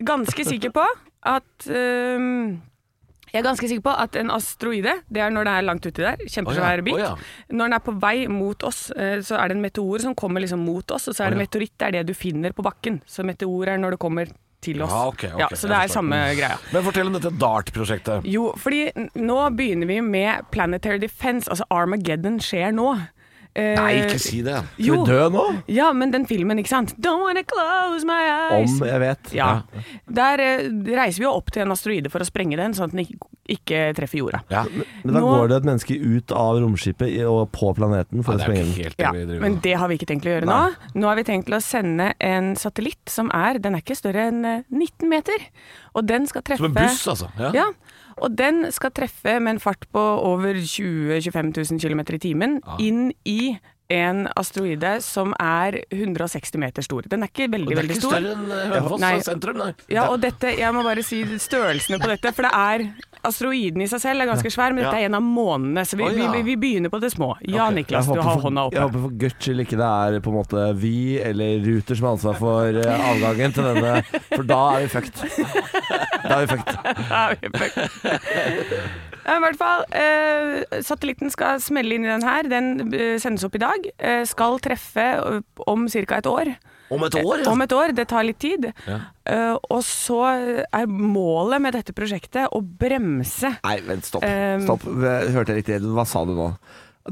Speaker 4: ganske sikker på at øhm, jeg er ganske sikker på at en asteroide, det er når det er langt uti der,
Speaker 5: Å
Speaker 4: kjempesvær
Speaker 5: ja,
Speaker 4: bit.
Speaker 5: å ja.
Speaker 4: Når den er på vei mot oss, eh, så er det en meteor som kommer liksom mot oss, og så er det meteoritt, det er det du finner på bakken. Så meteor er når det kommer til oss.
Speaker 5: Ja, ok, ok, jeg
Speaker 4: ja, så det er
Speaker 5: forstår. Mm.
Speaker 4: samme greia. Eh,
Speaker 5: Men fortell om dette Dart-prosjektet.
Speaker 4: Jo, fordi n- nå begynner vi med Planetary Defense, altså Armageddon skjer nå. Eh,
Speaker 5: Nei, ikke si det.
Speaker 3: Skal
Speaker 4: jo,
Speaker 3: vi dø nå?
Speaker 4: Ja, men den filmen, ikke sant? Don't wanna close my eyes.
Speaker 3: Om jeg vet.
Speaker 4: Ja. Der eh, reiser vi jo opp til en asteroide for å sprenge den, sånn at den ikke, ikke treffer jorda.
Speaker 5: Ja.
Speaker 3: Men da
Speaker 4: Nå-
Speaker 3: går det et menneske ut av romskipet i- og på planeten for
Speaker 5: Ja, det er
Speaker 3: å
Speaker 5: jo ikke
Speaker 3: sprenge den.
Speaker 5: helt det
Speaker 4: Ja,
Speaker 5: vi driver
Speaker 4: men
Speaker 5: med.
Speaker 4: det har vi ikke tenkt til å gjøre nå. Nå har vi tenkt til å sende en satellitt som er Den er ikke større enn eh, 19 meter. Og den skal treffe
Speaker 5: Som en buss, altså. Ja.
Speaker 4: Ja. Og den skal treffe med en fart på over 20 000-25 000 km i timen inn i en asteroide som er 160 meter stor. Den er ikke veldig,
Speaker 5: Og det er
Speaker 4: veldig
Speaker 5: ikke
Speaker 4: stor.
Speaker 5: større enn eh, Hønefoss
Speaker 4: Nei.
Speaker 5: sentrum, nei.
Speaker 4: Ja, og dette, jeg må bare si størrelsene på dette, for det er Asteroiden i seg selv er ganske svær, men dette er en av månene, så vi,
Speaker 5: Å, ja.
Speaker 4: vi, vi begynner på det små. Ja,
Speaker 3: Jeg
Speaker 4: Niklas, du
Speaker 3: håper,
Speaker 4: har
Speaker 3: for,
Speaker 4: hånda
Speaker 3: jeg
Speaker 4: oppe.
Speaker 3: håper for guds skyld ikke det er på en måte vi eller Ruter som har ansvar for eh, avgangen til denne, for da er vi fucked. Da er vi fucked.
Speaker 4: Ja, vi er fucked. Ja, I hvert fall, eh, satellitten skal smelle inn i den her. Den eh, sendes opp i dag. Eh, skal treffe eh, om ca. et år.
Speaker 5: Om et år, ja.
Speaker 4: Om et år, det tar litt tid. Eh, og så er målet med dette prosjektet å bremse
Speaker 3: Nei, vent, stopp.
Speaker 4: Um,
Speaker 3: Stopp. Hørte jeg riktig? Hva sa du nå?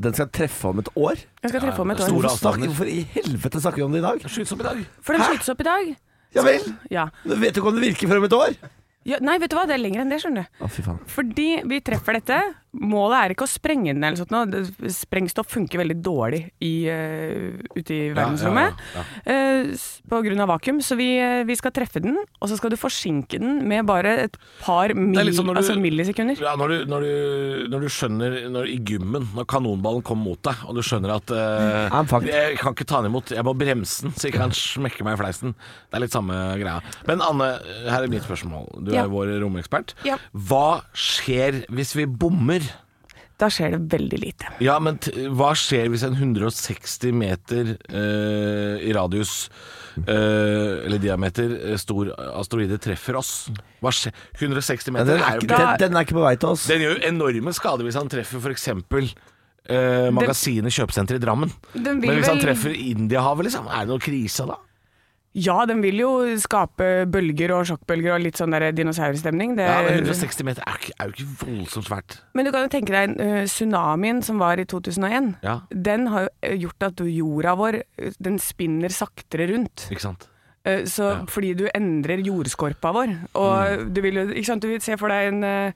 Speaker 3: Den skal treffe om et år?
Speaker 4: Den skal treffe om et
Speaker 5: Store
Speaker 4: år.
Speaker 3: Hvorfor, snakker,
Speaker 5: avstander.
Speaker 3: hvorfor i helvete snakker vi om det i dag?
Speaker 5: Skyts opp i dag.
Speaker 4: For den skytes opp i dag.
Speaker 3: Ja vel?
Speaker 4: Ja.
Speaker 3: Men Vet du ikke om det virker før om et år?
Speaker 4: Ja, nei, vet du hva, det er lenger enn det, skjønner du.
Speaker 3: Å, fy faen.
Speaker 4: Fordi vi treffer dette, Målet er ikke å sprenge den, eller sånt noe. Det- sprengstoff funker veldig dårlig i, eh, ute i verdensrommet eh, s- på grunn av vakuum. Så vi, eh, vi skal treffe den, og så skal du forsinke den med bare et par mil,
Speaker 5: Det er litt som når du-
Speaker 4: altså millisekunder.
Speaker 5: Ja, når du, når du, når du skjønner når, i gymmen, når kanonballen kommer mot deg, og du skjønner at eh,
Speaker 3: I'm fucked.
Speaker 5: Jeg kan ikke ta den imot, jeg må bremse den så ikke han smekker meg i fleisen. Det er litt samme greia. Men Anne, her er mitt spørsmål. Du
Speaker 4: Ja.
Speaker 5: er vår romekspert.
Speaker 4: Ja.
Speaker 5: Hva skjer hvis vi bommer?
Speaker 4: Da skjer det veldig lite.
Speaker 5: Ja, men t hva skjer hvis en 160 meter eh, i radius eh, eller diameter eh, stor asteroide treffer oss? Hva skjer? 160
Speaker 3: Men
Speaker 5: meter
Speaker 3: den, er
Speaker 5: jo
Speaker 3: ikke,
Speaker 5: bra.
Speaker 3: den, den er ikke på vei til oss.
Speaker 5: Den gjør jo enorme skader hvis han treffer f.eks. Eh, magasinet kjøpesenter i Drammen.
Speaker 4: Den vil
Speaker 5: Men hvis han
Speaker 4: vel-
Speaker 5: treffer Indiahavet, liksom, er det noe krise da?
Speaker 4: Ja, den vil jo skape bølger og sjokkbølger og litt sånn der dinosaurstemning. Det,
Speaker 5: Ja, men 160 meter er, ikke- er jo ikke voldsomt svært.
Speaker 4: Men du kan jo tenke deg eh, tsunamien som var i 2001.
Speaker 5: Ja.
Speaker 4: Den har jo eh, gjort at jorda vår eh, den spinner saktere rundt.
Speaker 5: Ikke sant?
Speaker 4: Eh, Så Fordi du endrer jordskorpa vår. Og du vil jo ikke sant, du vil se for deg en, eh,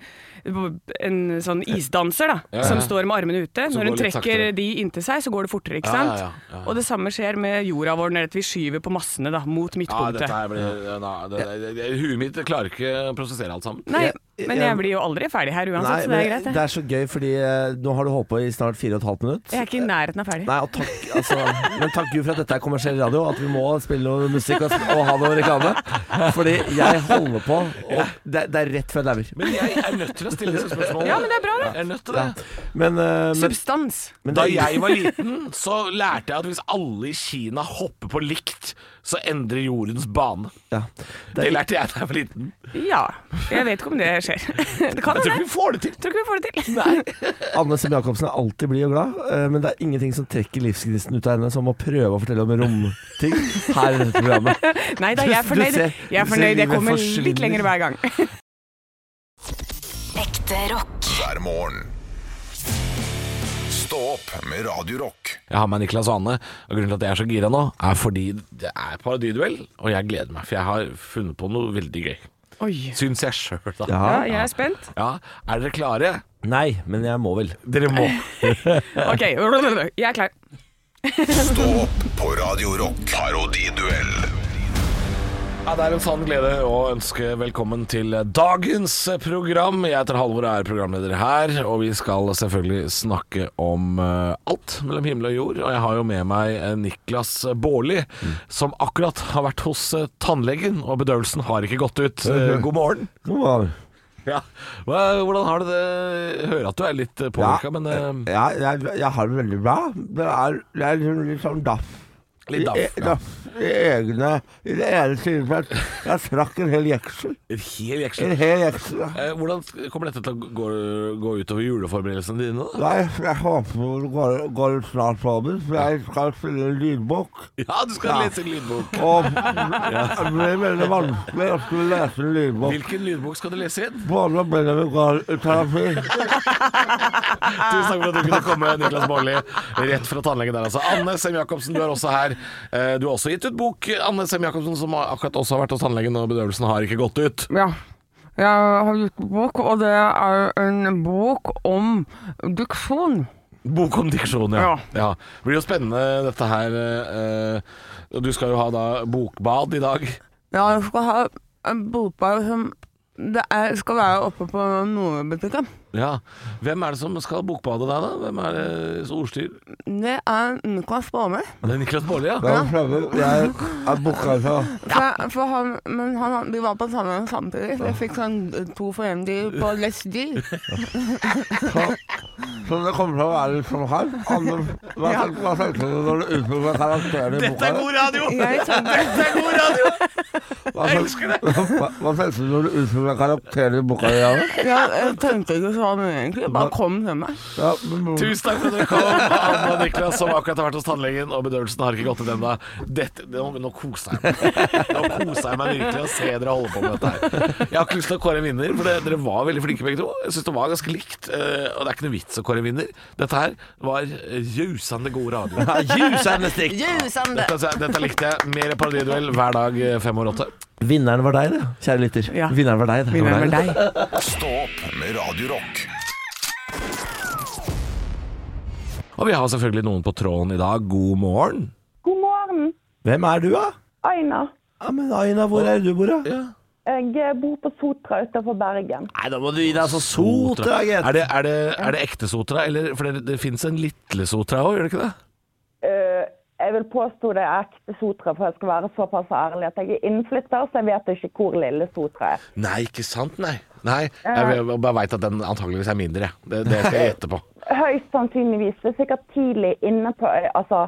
Speaker 4: en sånn isdanser da,
Speaker 5: Ja, ja.
Speaker 4: som står med armene ute.
Speaker 5: Som
Speaker 4: Når hun
Speaker 5: går litt
Speaker 4: trekker
Speaker 5: saktere.
Speaker 4: de inntil seg, så går det fortere.
Speaker 5: Ja, ja,
Speaker 4: ikke sant?
Speaker 5: ja, ja, ja.
Speaker 4: Og det samme skjer med jorda vår når vi skyver på massene da, mot
Speaker 5: Ja,
Speaker 4: midtpunktet.
Speaker 5: dette her blir ja, det, det, det, Huet mitt klarer ikke å prosessere alt sammen.
Speaker 4: Nei,
Speaker 3: Jeg-
Speaker 4: men
Speaker 3: jeg-
Speaker 4: jeg blir jo aldri ferdig her uansett, så det
Speaker 3: men
Speaker 4: er greit.
Speaker 3: det
Speaker 4: Det.
Speaker 3: er så gøy, fordi eh, nå har du holdt på i snart fire og et halvt minutt.
Speaker 4: Jeg er ikke i nærheten av ferdig.
Speaker 3: Nei, og takk, altså, men takk Gud for at dette er kommersiell radio, at vi må spille noe musikk og, og ha noe reklame. Fordi jeg holder på, og det, det er rett før jeg dauer.
Speaker 5: Men jeg er nødt til å stille disse spørsmålene.
Speaker 4: Ja, men det er bra, det.
Speaker 5: Jeg er nødt til det.
Speaker 3: Men, eh, men,
Speaker 4: Substans.
Speaker 3: men
Speaker 5: Da
Speaker 3: det-
Speaker 5: jeg var liten, så lærte jeg at hvis alle i Kina hopper på likt, så endrer jordens bane.
Speaker 3: ja,
Speaker 5: Det
Speaker 3: det er,
Speaker 5: lærte jeg da jeg var liten.
Speaker 4: Ja. Jeg vet ikke om det skjer. Det kan
Speaker 5: Jeg tror
Speaker 4: hende.
Speaker 5: ikke vi får det til.
Speaker 4: Tror ikke vi får det til. Nei.
Speaker 3: Anne Sem Jacobsen er alltid blid og glad, eh, men det er ingenting som trekker livsgnisten ut av henne som å prøve å fortelle om romting her i dette programmet.
Speaker 4: da, jeg er
Speaker 3: Du
Speaker 4: fornøyd.
Speaker 3: ser-
Speaker 4: Jeg er
Speaker 3: du ser
Speaker 4: fornøyd. Jeg
Speaker 3: livet
Speaker 4: kommer
Speaker 3: forsvinner.
Speaker 4: litt lenger hver gang.
Speaker 1: Ekte rock.
Speaker 2: hver morgen. Stå opp med Radio Rock.
Speaker 5: Jeg har med Niklas og Anne, og grunnen til at jeg er så gira nå, er fordi det er parodiduell, og jeg gleder meg, for jeg har funnet på noe veldig gøy.
Speaker 4: Oi.
Speaker 5: Syns jeg sjøl, da.
Speaker 4: Ja,
Speaker 3: Ja.
Speaker 4: jeg er spent.
Speaker 5: Ja, Er dere klare?
Speaker 3: Nei, men jeg må vel.
Speaker 5: Dere må.
Speaker 4: Ok, jeg er klar.
Speaker 2: Stå opp på Radio Rock. Parodiduell.
Speaker 5: Ja, Det er en sann glede å ønske velkommen til dagens program. Jeg heter Halvor og er programleder her, og vi skal selvfølgelig snakke om eh, alt mellom himmel og jord. Og jeg har jo med meg eh, Niklas Baarli, som akkurat har vært hos eh, tannlegen, og bedøvelsen har ikke gått ut. Eh, God morgen.
Speaker 3: Kom an.
Speaker 5: Ja. Hva- Hvordan har du det? Jeg hører at du er litt påvirka, men eh,
Speaker 3: ja, jeg, jeg har det veldig bra. Det er, det er liksom litt sånn daff.
Speaker 5: Litt daff,
Speaker 3: I, e-
Speaker 5: ja.
Speaker 3: daff i egne I det ene synet at jeg trakk en hel jeksel.
Speaker 5: en hel
Speaker 3: En
Speaker 5: jeksel.
Speaker 3: hel jeksel. ja.
Speaker 5: Eh, Hvordan kommer dette til å gå, gå utover juleforberedelsene dine? da?
Speaker 3: Nei, jeg håper det går, går litt snart over, for jeg skal spille en lydbok.
Speaker 5: Ja, du skal
Speaker 3: Ja.
Speaker 5: lese en lydbok.
Speaker 3: Og det blir veldig vanskelig å skulle lese en lydbok.
Speaker 5: Hvilken lydbok skal du lese inn?
Speaker 3: Både Benjamin Gahl i terapi.
Speaker 5: Tusen takk for at du kunne komme, Niklas Baarli. Rett fra tannlegen der, altså. Anne Sem Jacobsen, du er også her. Eh, Du har også gitt ut bok, Anne Sem Jacobsen, som har- akkurat også har vært hos tannlegen, og bedøvelsen har ikke gått ut.
Speaker 4: Ja. Jeg har gitt bok, og det er en bok om duksjon.
Speaker 5: Bok om diksjon, ja.
Speaker 4: Ja.
Speaker 5: ja. Det blir jo spennende, dette her. eh, og Du skal jo ha da bokbad i dag.
Speaker 4: Ja, jeg skal ha en bokbar som det er, skal være oppe på Nordbutikken.
Speaker 5: Ja. Hvem er det som skal bokbade deg, da? Hvem er det ordstyr?
Speaker 4: Det er Niklas Baarli.
Speaker 5: Det er Niklas Baarli, ja.
Speaker 3: Jeg er fremme. Jeg er booka så
Speaker 4: For, for han, men han, vi var på sammen samtidig, så jeg fikk sånn to foreldre på Let's Deal.
Speaker 3: Så det kommer til å være litt som her. Andre, hva, tenk- hva tenkte du når du utvikla karakteren i boka? di?
Speaker 5: radio!
Speaker 4: Jeg tenkte
Speaker 3: Hva tenk- Hva, hva tenkte du når du utvikla karakteren i boka? di, Janne?
Speaker 4: Jeg, jeg tenkte ikke så mye, egentlig. Jeg bare kom til meg.
Speaker 3: Ja, men-
Speaker 5: Tusen takk for at dere kom, Anne og Niklas, som akkurat har vært hos tannlegen, og bedøvelsen har ikke gått ut ennå. Dette- det- Nå, nå koser jeg meg. Nå koser jeg meg virkelig å se dere holde på med dette her. Jeg har ikke lyst til å kåre en vinner, for det, dere var veldig flinke begge to. Jeg syns det var ganske likt, eh, og det er ikke noe vits å kåre en vinner. Dette her var rausende god radio.
Speaker 3: Ljusende stikk.
Speaker 4: Jusende!
Speaker 5: Dette, dette likte jeg. Mer parodiduell hver dag eh, fem år åtte.
Speaker 3: Vinneren var deg, det, kjære lytter.
Speaker 4: Ja.
Speaker 3: Vinneren var deg. det.
Speaker 4: Begynner med deg.
Speaker 2: Stå opp med Radio Rock.
Speaker 5: Og vi har selvfølgelig noen på tråden i dag. God morgen.
Speaker 8: God morgen,
Speaker 3: Hvem er du, da?
Speaker 8: Aina.
Speaker 3: Ja, men Aina, hvor er det du bor, da?
Speaker 8: Jeg eh, bor på Sotra utenfor Bergen.
Speaker 3: Nei, da må du gi deg altså så sot, da, gitt.
Speaker 5: Er det, er, det, er det ekte Sotra, eller For det, det fins en lille Sotra òg, gjør det ikke det?
Speaker 8: Eh, Jeg vil påstå det er ekte Sotra, for jeg skal være såpass ærlig at jeg er innflytter, så jeg vet ikke hvor lille Sotra er.
Speaker 5: Nei, ikke sant, nei. Nei, Jeg, jeg bare veit at den antakeligvis er mindre. jeg. Det, det skal jeg gjette på.
Speaker 8: Høyst sannsynligvis. Det er sikkert tidlig inne på øy, altså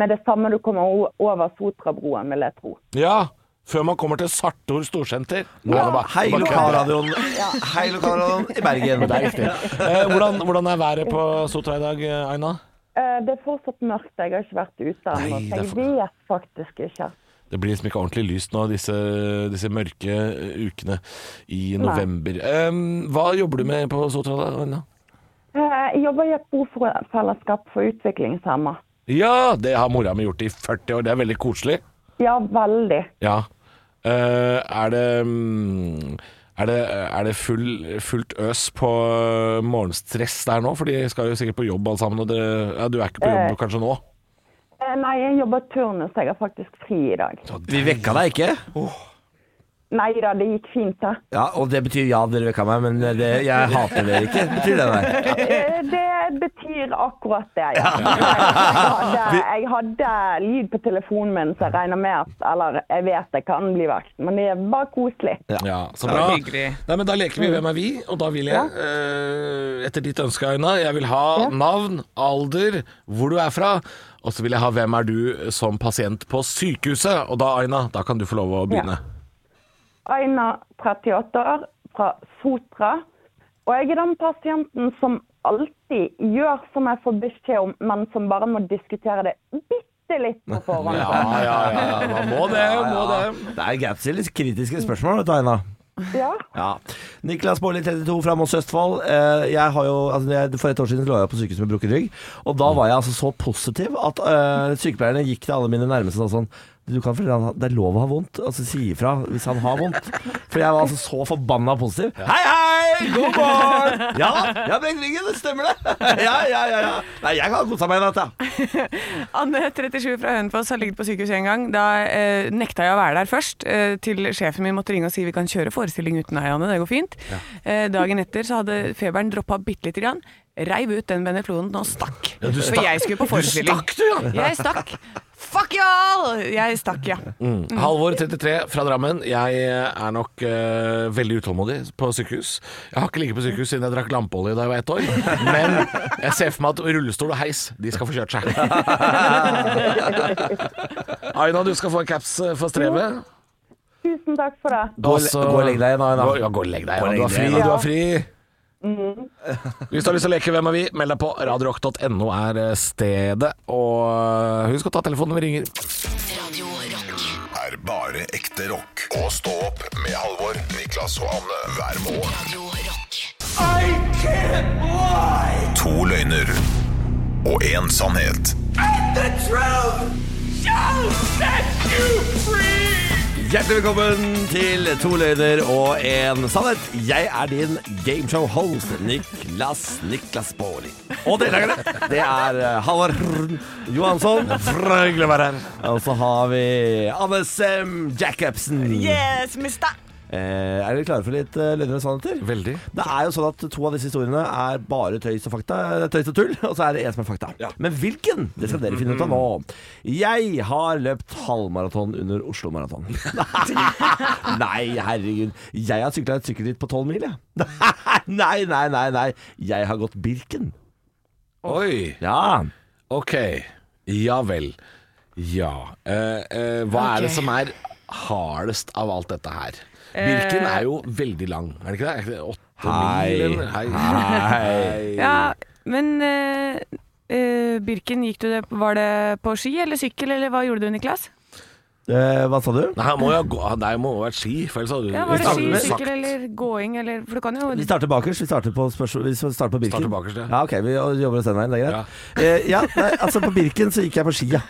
Speaker 8: med det samme du kommer o- over Sotrabroen, vil jeg tro.
Speaker 5: Ja, før man kommer til Sartor storsenter. Nei, det var-
Speaker 3: Hei,
Speaker 5: det var ikke-
Speaker 3: lokalradioen. Hei, lokalradioen i Bergen.
Speaker 5: Det er riktig. Eh, hvordan, hvordan er været på Sotra i dag, eh, Aina?
Speaker 8: Eh, Det er fortsatt mørkt, jeg har ikke vært ute ennå,
Speaker 5: Nei,
Speaker 8: så
Speaker 5: det er
Speaker 8: jeg
Speaker 5: for-
Speaker 8: vet faktisk ikke.
Speaker 5: Det blir liksom ikke ordentlig lyst nå, disse, disse mørke eh, ukene i november. Em, hva jobber du med på Sotra, da, Aina?
Speaker 8: Eh, Jeg jobber i et bofellesskap for utviklingshemma.
Speaker 5: Ja, det har mora mi gjort i 40 år. Det er veldig koselig.
Speaker 8: Ja, veldig.
Speaker 5: Ja. Eh, er det mm, er det, er det full, fullt øs på eh, morgenstress der nå? For de skal jo sikkert på jobb alle sammen. Og det, ja, du er ikke på jobb kanskje nå?
Speaker 8: Eh, Nei, jeg jobber turnus, jeg har faktisk fri i dag.
Speaker 3: Vi vekka deg ikke?
Speaker 8: Nei da, det gikk fint, det.
Speaker 3: Ja, og det betyr ja, dere vekka meg, men det, jeg hater dere ikke. Betyr det der?
Speaker 8: Eh, Det betyr akkurat det, ja. Jeg hadde, jeg hadde lyd på telefonen min, så jeg regner med at Eller jeg vet jeg kan bli vekt, men det var koselig.
Speaker 5: Ja, så bra.
Speaker 4: det er hyggelig.
Speaker 5: Nei, men da leker vi Hvem er vi? Og da vil jeg, eh, etter ditt ønske, Aina, jeg vil ha navn, alder, hvor du er fra. Og så vil jeg ha Hvem er du som pasient på sykehuset? Og da, Aina, da kan du få lov å begynne.
Speaker 8: Aina, 38 år, fra Sotra. Og jeg er den pasienten som alltid gjør som jeg får beskjed om, men som bare må diskutere det bitte litt på forhånd.
Speaker 5: Ja, ja, ja. Man må det, må det.
Speaker 3: Det er Gaps litt kritiske spørsmål, vet du, Aina.
Speaker 8: Ja.
Speaker 3: Ja. Niklas Baarli, 32, fra Moss Østfold. Eh, Jeg har jo, altså jeg, for et år siden lå jeg på sykehus med brukket rygg. Og da var jeg altså så positiv at eh, sykepleierne gikk til alle mine nærmeste og sånn du kan fortelle han, Det er lov å ha vondt. Altså Si ifra hvis han har vondt. For jeg var altså så forbanna positiv. Hei, hei! God morgen! Ja, jeg har brekt ryggen. Det stemmer, det. Ja, ja, ja. ja. Nei, jeg kan kose meg i natt, jeg.
Speaker 4: Anne 37 fra Hønefoss har ligget på sykehus en gang. Da eh, nekta jeg å være der først, eh, til sjefen min måtte ringe og si vi kan kjøre forestilling uten deg, Anne, det går fint. Eh, dagen etter så hadde feberen droppa bitte lite grann. Reiv ut den beneflonen og stakk.
Speaker 5: du stakk.
Speaker 4: For jeg skulle på forestilling.
Speaker 5: stakk, du, ja.
Speaker 4: Jeg stakk. Fuck y'all! Jeg stakk, ja.
Speaker 5: Mm. Halvor 33 fra Drammen. Jeg er nok eh, veldig utålmodig på sykehus. Jeg har ikke ligget på sykehus siden jeg drakk lampeolje da jeg var ett år. Men jeg ser for meg at rullestol og heis, de skal få kjørt seg. Aina, du skal få en caps eh, for strevet.
Speaker 8: Tusen takk for det.
Speaker 3: Gå og le- gå og legg deg igjen, Aina.
Speaker 5: Gå- Ja, gå og legg deg.
Speaker 3: Gå og
Speaker 5: Aina. Du
Speaker 3: legg
Speaker 5: har fri.
Speaker 3: deg, Mm.
Speaker 5: Du har fri. Hvis du har lyst til å leke Hvem er vi? Meld deg på. Radiorock.no er eh, stedet. Og eh, husk å ta telefonen når vi ringer.
Speaker 1: Radio Rock.
Speaker 2: er bare ekte rock. Og stå opp med Halvor, Niklas og Anne hver morgen.
Speaker 1: Radio Rock.
Speaker 2: To løgner og én sannhet.
Speaker 3: Hjertelig velkommen til To løgner og en sannhet. Jeg er din gameshow-host Niklas Niklas Baarli. Og deltakerne, det er eh, Halvard Johansson.
Speaker 5: Hyggelig å være her.
Speaker 3: Og så har vi Anne Sem Jacobsen.
Speaker 4: Yes, mista.
Speaker 3: Eh, er dere klare for litt eh, løgner og sannheter?
Speaker 5: Veldig.
Speaker 3: Det er jo sånn at To av disse historiene er bare tøys og fakta eh, Tøys og tull, og så er det en som er fakta. Men hvilken? Det skal dere finne ut av nå. Jeg har løpt halvmaraton under Oslo Maraton. nei, herregud. Jeg har sykla et sykkelritt på tolv mil, jeg. nei, nei, nei, nei. Jeg har gått Birken.
Speaker 5: Oi.
Speaker 3: Ja.
Speaker 5: Ok, ja vel. Ja. Eh, eh, hva er det som er hardest av alt dette her?
Speaker 4: Eh.
Speaker 5: Birken er jo veldig lang, er det ikke det? Er ikke det åtte
Speaker 3: Hei.
Speaker 5: mil? eller? Hei.
Speaker 4: Ja, men eh, eh, Birken, gikk du det, var det på ski eller sykkel, eller hva gjorde du, Niklas?
Speaker 3: Eh, hva sa du?
Speaker 5: Nei, han må jo gå, det må jo være ski, for ellers hadde du
Speaker 4: Ja, var det
Speaker 5: Hvis
Speaker 4: ski,
Speaker 5: han-
Speaker 4: sykkel eller gåing, eller For du kan jo
Speaker 3: Vi starter bakerst. Vi starter på, spørsmål- vi starter på Birken.
Speaker 5: Starter bakerst, ja.
Speaker 3: ja, ok, Vi jobber oss den veien. Det er greit. Eh, ja, nei, altså På Birken så gikk jeg på ski, ja.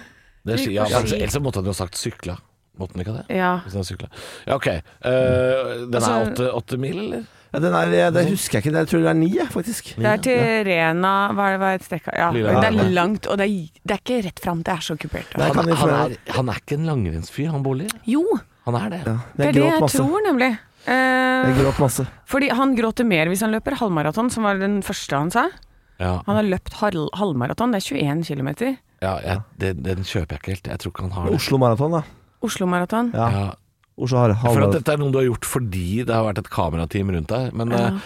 Speaker 5: Det er ski, ja.
Speaker 4: Gikk på
Speaker 5: men
Speaker 4: ski.
Speaker 5: Ellers så måtte han jo sagt sykla. Måtte han ikke det?
Speaker 4: Ja.
Speaker 5: Hvis han sykla. Ja, ok. Eh, den er
Speaker 4: Altså-
Speaker 5: åtte, åtte mil, eller?
Speaker 3: Ja, den er, jeg, det husker jeg ikke. Jeg tror det er ni, jeg, faktisk.
Speaker 4: Det er til Rena Hva er det, hva er det strekka? Ja,
Speaker 5: Lillehammer.
Speaker 4: det er langt, og det er, det er ikke rett fram. Det er så kupert.
Speaker 3: Nei. Jeg kan
Speaker 5: Han, han,
Speaker 3: informere-
Speaker 5: er, han er ikke en langrennsfyr, han Bolig.
Speaker 4: Jo,
Speaker 5: Han er det.
Speaker 4: det
Speaker 3: Jeg
Speaker 4: er det
Speaker 3: gråt
Speaker 4: jeg
Speaker 3: masse.
Speaker 4: tror, nemlig.
Speaker 3: Jeg
Speaker 4: Eh,
Speaker 3: gråt masse.
Speaker 4: fordi han gråter mer hvis han løper halvmaraton, som var den første han sa.
Speaker 5: Ja,
Speaker 4: Han har løpt halv, halvmaraton, det er 21 km.
Speaker 5: ja jeg, den, den kjøper jeg ikke helt. Jeg tror ikke han har det.
Speaker 3: Oslo Maraton, da.
Speaker 4: Oslo-maraton.
Speaker 3: Ja.
Speaker 5: Ja.
Speaker 3: Oslo har
Speaker 5: For at
Speaker 3: halvmaraton.
Speaker 5: dette er noe du har gjort fordi det har vært et kamerateam rundt deg. Men eh,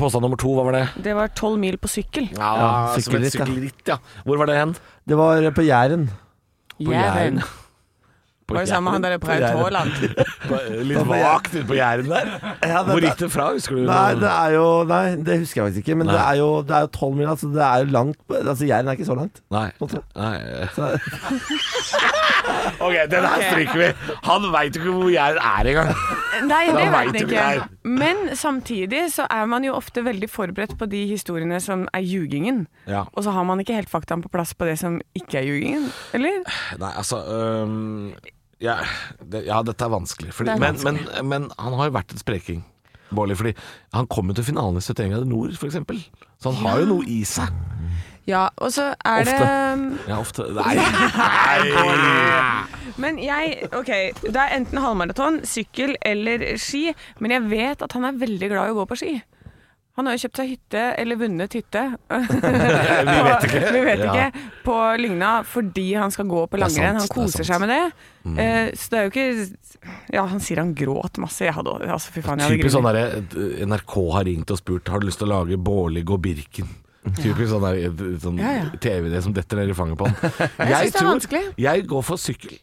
Speaker 5: påstand nummer to, hva var det?
Speaker 4: Det var 12 mil på sykkel.
Speaker 5: Ja,
Speaker 3: Ja,
Speaker 5: som et
Speaker 3: sykkelritt, ja.
Speaker 5: sykkelritt, ja. Hvor var det hen?
Speaker 3: Det var på Jæren.
Speaker 5: På
Speaker 4: Jæren.
Speaker 5: Jæren. På
Speaker 4: Var det sammen med han der Braut
Speaker 3: Jæren.
Speaker 4: Haaland?
Speaker 5: På- Eh, Litt vagt ute på Jæren der. Hvor gikk det fra, husker du?
Speaker 3: Nei, det er jo Nei, det husker jeg faktisk ikke. Men
Speaker 5: Nei.
Speaker 3: det er jo det er jo tolv mil, altså. Det er jo langt Altså, Jæren er ikke så langt.
Speaker 5: Nei.
Speaker 3: Måtte.
Speaker 5: Nei. eh.
Speaker 3: Så-
Speaker 5: Ok, den her stryker vi. Han veit jo ikke hvor Jæren er engang.
Speaker 4: Nei, det
Speaker 5: vet
Speaker 4: vet
Speaker 5: du
Speaker 4: jeg
Speaker 5: ikke
Speaker 4: ikke. Men samtidig så er man jo ofte veldig forberedt på de historiene som er ljugingen.
Speaker 5: Ja.
Speaker 4: Og så har man ikke helt faktaen på plass på det som ikke er ljugingen, eller?
Speaker 5: Nei, altså øhm, ja, det, ja, dette er vanskelig. Fordi,
Speaker 4: Det er
Speaker 5: men, Men, men han har jo vært en spreking, Bårli. Fordi han kom jo til finalen i 71 grader nord, f.eks. Så han har jo noe i seg.
Speaker 4: Ja, og så er det um,
Speaker 5: Ja, ofte Nei! nei.
Speaker 4: Men jeg OK, det er enten halvmaraton, sykkel eller ski. Men jeg vet at han er veldig glad i å gå på ski. Han har jo kjøpt seg hytte, eller vunnet hytte Vi vet ikke. Vi vet ikke
Speaker 5: Ja.
Speaker 4: På Lygna fordi han skal gå på
Speaker 5: er
Speaker 4: langrenn.
Speaker 5: sant,
Speaker 4: Han
Speaker 5: det er sant.
Speaker 4: koser
Speaker 5: Mm.
Speaker 4: seg med det. Eh, så det er jo ikke Ja, han sier han gråt masse. Jeg hadde Altså, fy faen, jeg hadde
Speaker 5: Typisk
Speaker 4: grunn.
Speaker 5: sånn derre NRK har ringt og spurt Har du lyst til å lage Bårli gå Birken. Typisk sånn, der, sånn
Speaker 4: Ja, ja.
Speaker 5: TV-idé som detter ned i fanget på han. Jeg,
Speaker 4: synes det er
Speaker 5: tror-
Speaker 4: vanskelig.
Speaker 5: Jeg går for sykkel.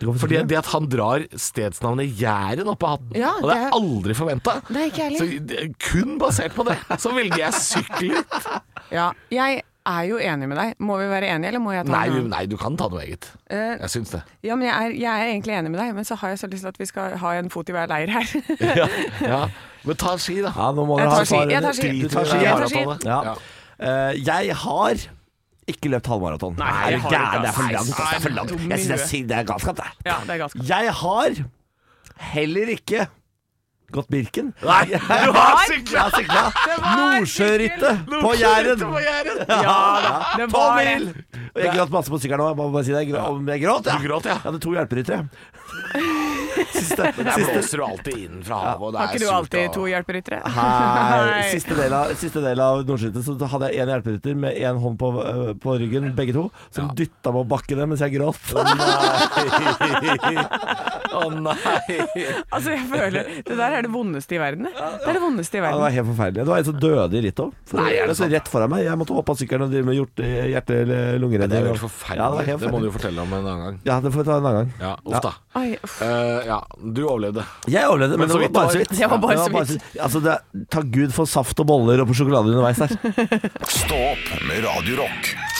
Speaker 3: Du går for
Speaker 5: Fordi
Speaker 3: sykkel,
Speaker 5: det at han drar stedsnavnet Jæren opp av hatten,
Speaker 4: Ja,
Speaker 5: og det
Speaker 4: det
Speaker 5: er
Speaker 4: er-
Speaker 5: aldri forventa.
Speaker 4: Nei, ikke jeg
Speaker 5: Så det- kun basert på det, så velger jeg sykkelritt.
Speaker 4: Ja, jeg er jo enig med deg. Må vi være enige, eller må jeg ta
Speaker 5: Nei,
Speaker 4: den?
Speaker 5: du- nei, du kan ta noe eget.
Speaker 4: Eh,
Speaker 5: Jeg syns det.
Speaker 4: Ja, men jeg er, jeg er egentlig enig med deg, men så har jeg så lyst til at vi skal ha en fot i hver leir her.
Speaker 5: Ja, ja. Men ta ski, da.
Speaker 3: Ja, nå må dere
Speaker 4: Jeg
Speaker 3: ha
Speaker 4: tar
Speaker 3: et
Speaker 4: ski,
Speaker 3: par-
Speaker 4: jeg tar ski.
Speaker 3: Drit i
Speaker 5: Du
Speaker 3: det
Speaker 5: tar ski,
Speaker 3: der
Speaker 4: jeg tar
Speaker 3: maratonet.
Speaker 4: ski.
Speaker 3: Ja. Eh, jeg har ikke løpt halvmaraton. Nei,
Speaker 4: jeg har ikke,
Speaker 3: det er for
Speaker 4: ass.
Speaker 3: langt. ass. Det er for langt. Jeg synes det er, synd. det er galskap, det.
Speaker 4: Ja, det er galskap.
Speaker 3: Jeg har heller ikke gått Birken.
Speaker 5: Nei, du har sykla!
Speaker 3: Jeg har sykla Nordsjørittet på Jæren.
Speaker 4: Ja, det
Speaker 3: Tolv
Speaker 4: var det.
Speaker 3: mil! Og jeg gråt masse på sykkelen òg. Jeg må bare si det. Jeg grå- Om jeg gråt, ja.
Speaker 5: Du gråt, ja.
Speaker 3: Jeg hadde to hjelperyttere. Siste,
Speaker 5: Der
Speaker 3: siste,
Speaker 5: blåser du alltid inn fra havet. og det
Speaker 4: Har
Speaker 5: er
Speaker 4: ikke du
Speaker 5: surt,
Speaker 4: alltid
Speaker 5: og-
Speaker 4: to hjelperyttere?
Speaker 3: Hei. Siste del av, siste del av Nordsjørittet så hadde jeg én hjelperytter med én hånd på, øh, på ryggen, begge to, som dyttet dytta meg opp bakkene mens jeg gråt.
Speaker 5: Å nei!
Speaker 4: Altså, jeg føler Det der er det vondeste i verden. det. Det er det vondeste i
Speaker 3: Ja, det var
Speaker 4: verden.
Speaker 3: helt forferdelig. Det var en som døde i rittet òg.
Speaker 5: Nei, er det
Speaker 3: Altså,
Speaker 5: sant?
Speaker 3: Rett foran meg. Jeg måtte hoppe av sykkelen og drive med hjort- eh, hjerte- eller lungeredning.
Speaker 5: Det er jo
Speaker 3: og-
Speaker 5: helt
Speaker 3: Ja, det var
Speaker 5: forferdelig.
Speaker 3: helt
Speaker 5: det må du
Speaker 3: forferdelig.
Speaker 5: jo fortelle om en annen gang.
Speaker 3: Ja, det får vi ta en annen gang.
Speaker 5: Ja, uff da.
Speaker 4: Oi, uff.
Speaker 5: Eh, ja, du overlevde.
Speaker 3: Jeg overlevde, men,
Speaker 5: Men så
Speaker 3: det var
Speaker 5: vidt
Speaker 3: bare
Speaker 5: det
Speaker 3: så
Speaker 5: var.
Speaker 3: vidt.
Speaker 4: Det var bare
Speaker 3: Det
Speaker 4: så vidt.
Speaker 3: Altså, det, er- takk Gud for saft og boller og på sjokolade underveis der.
Speaker 2: Stå opp med Radio Rock.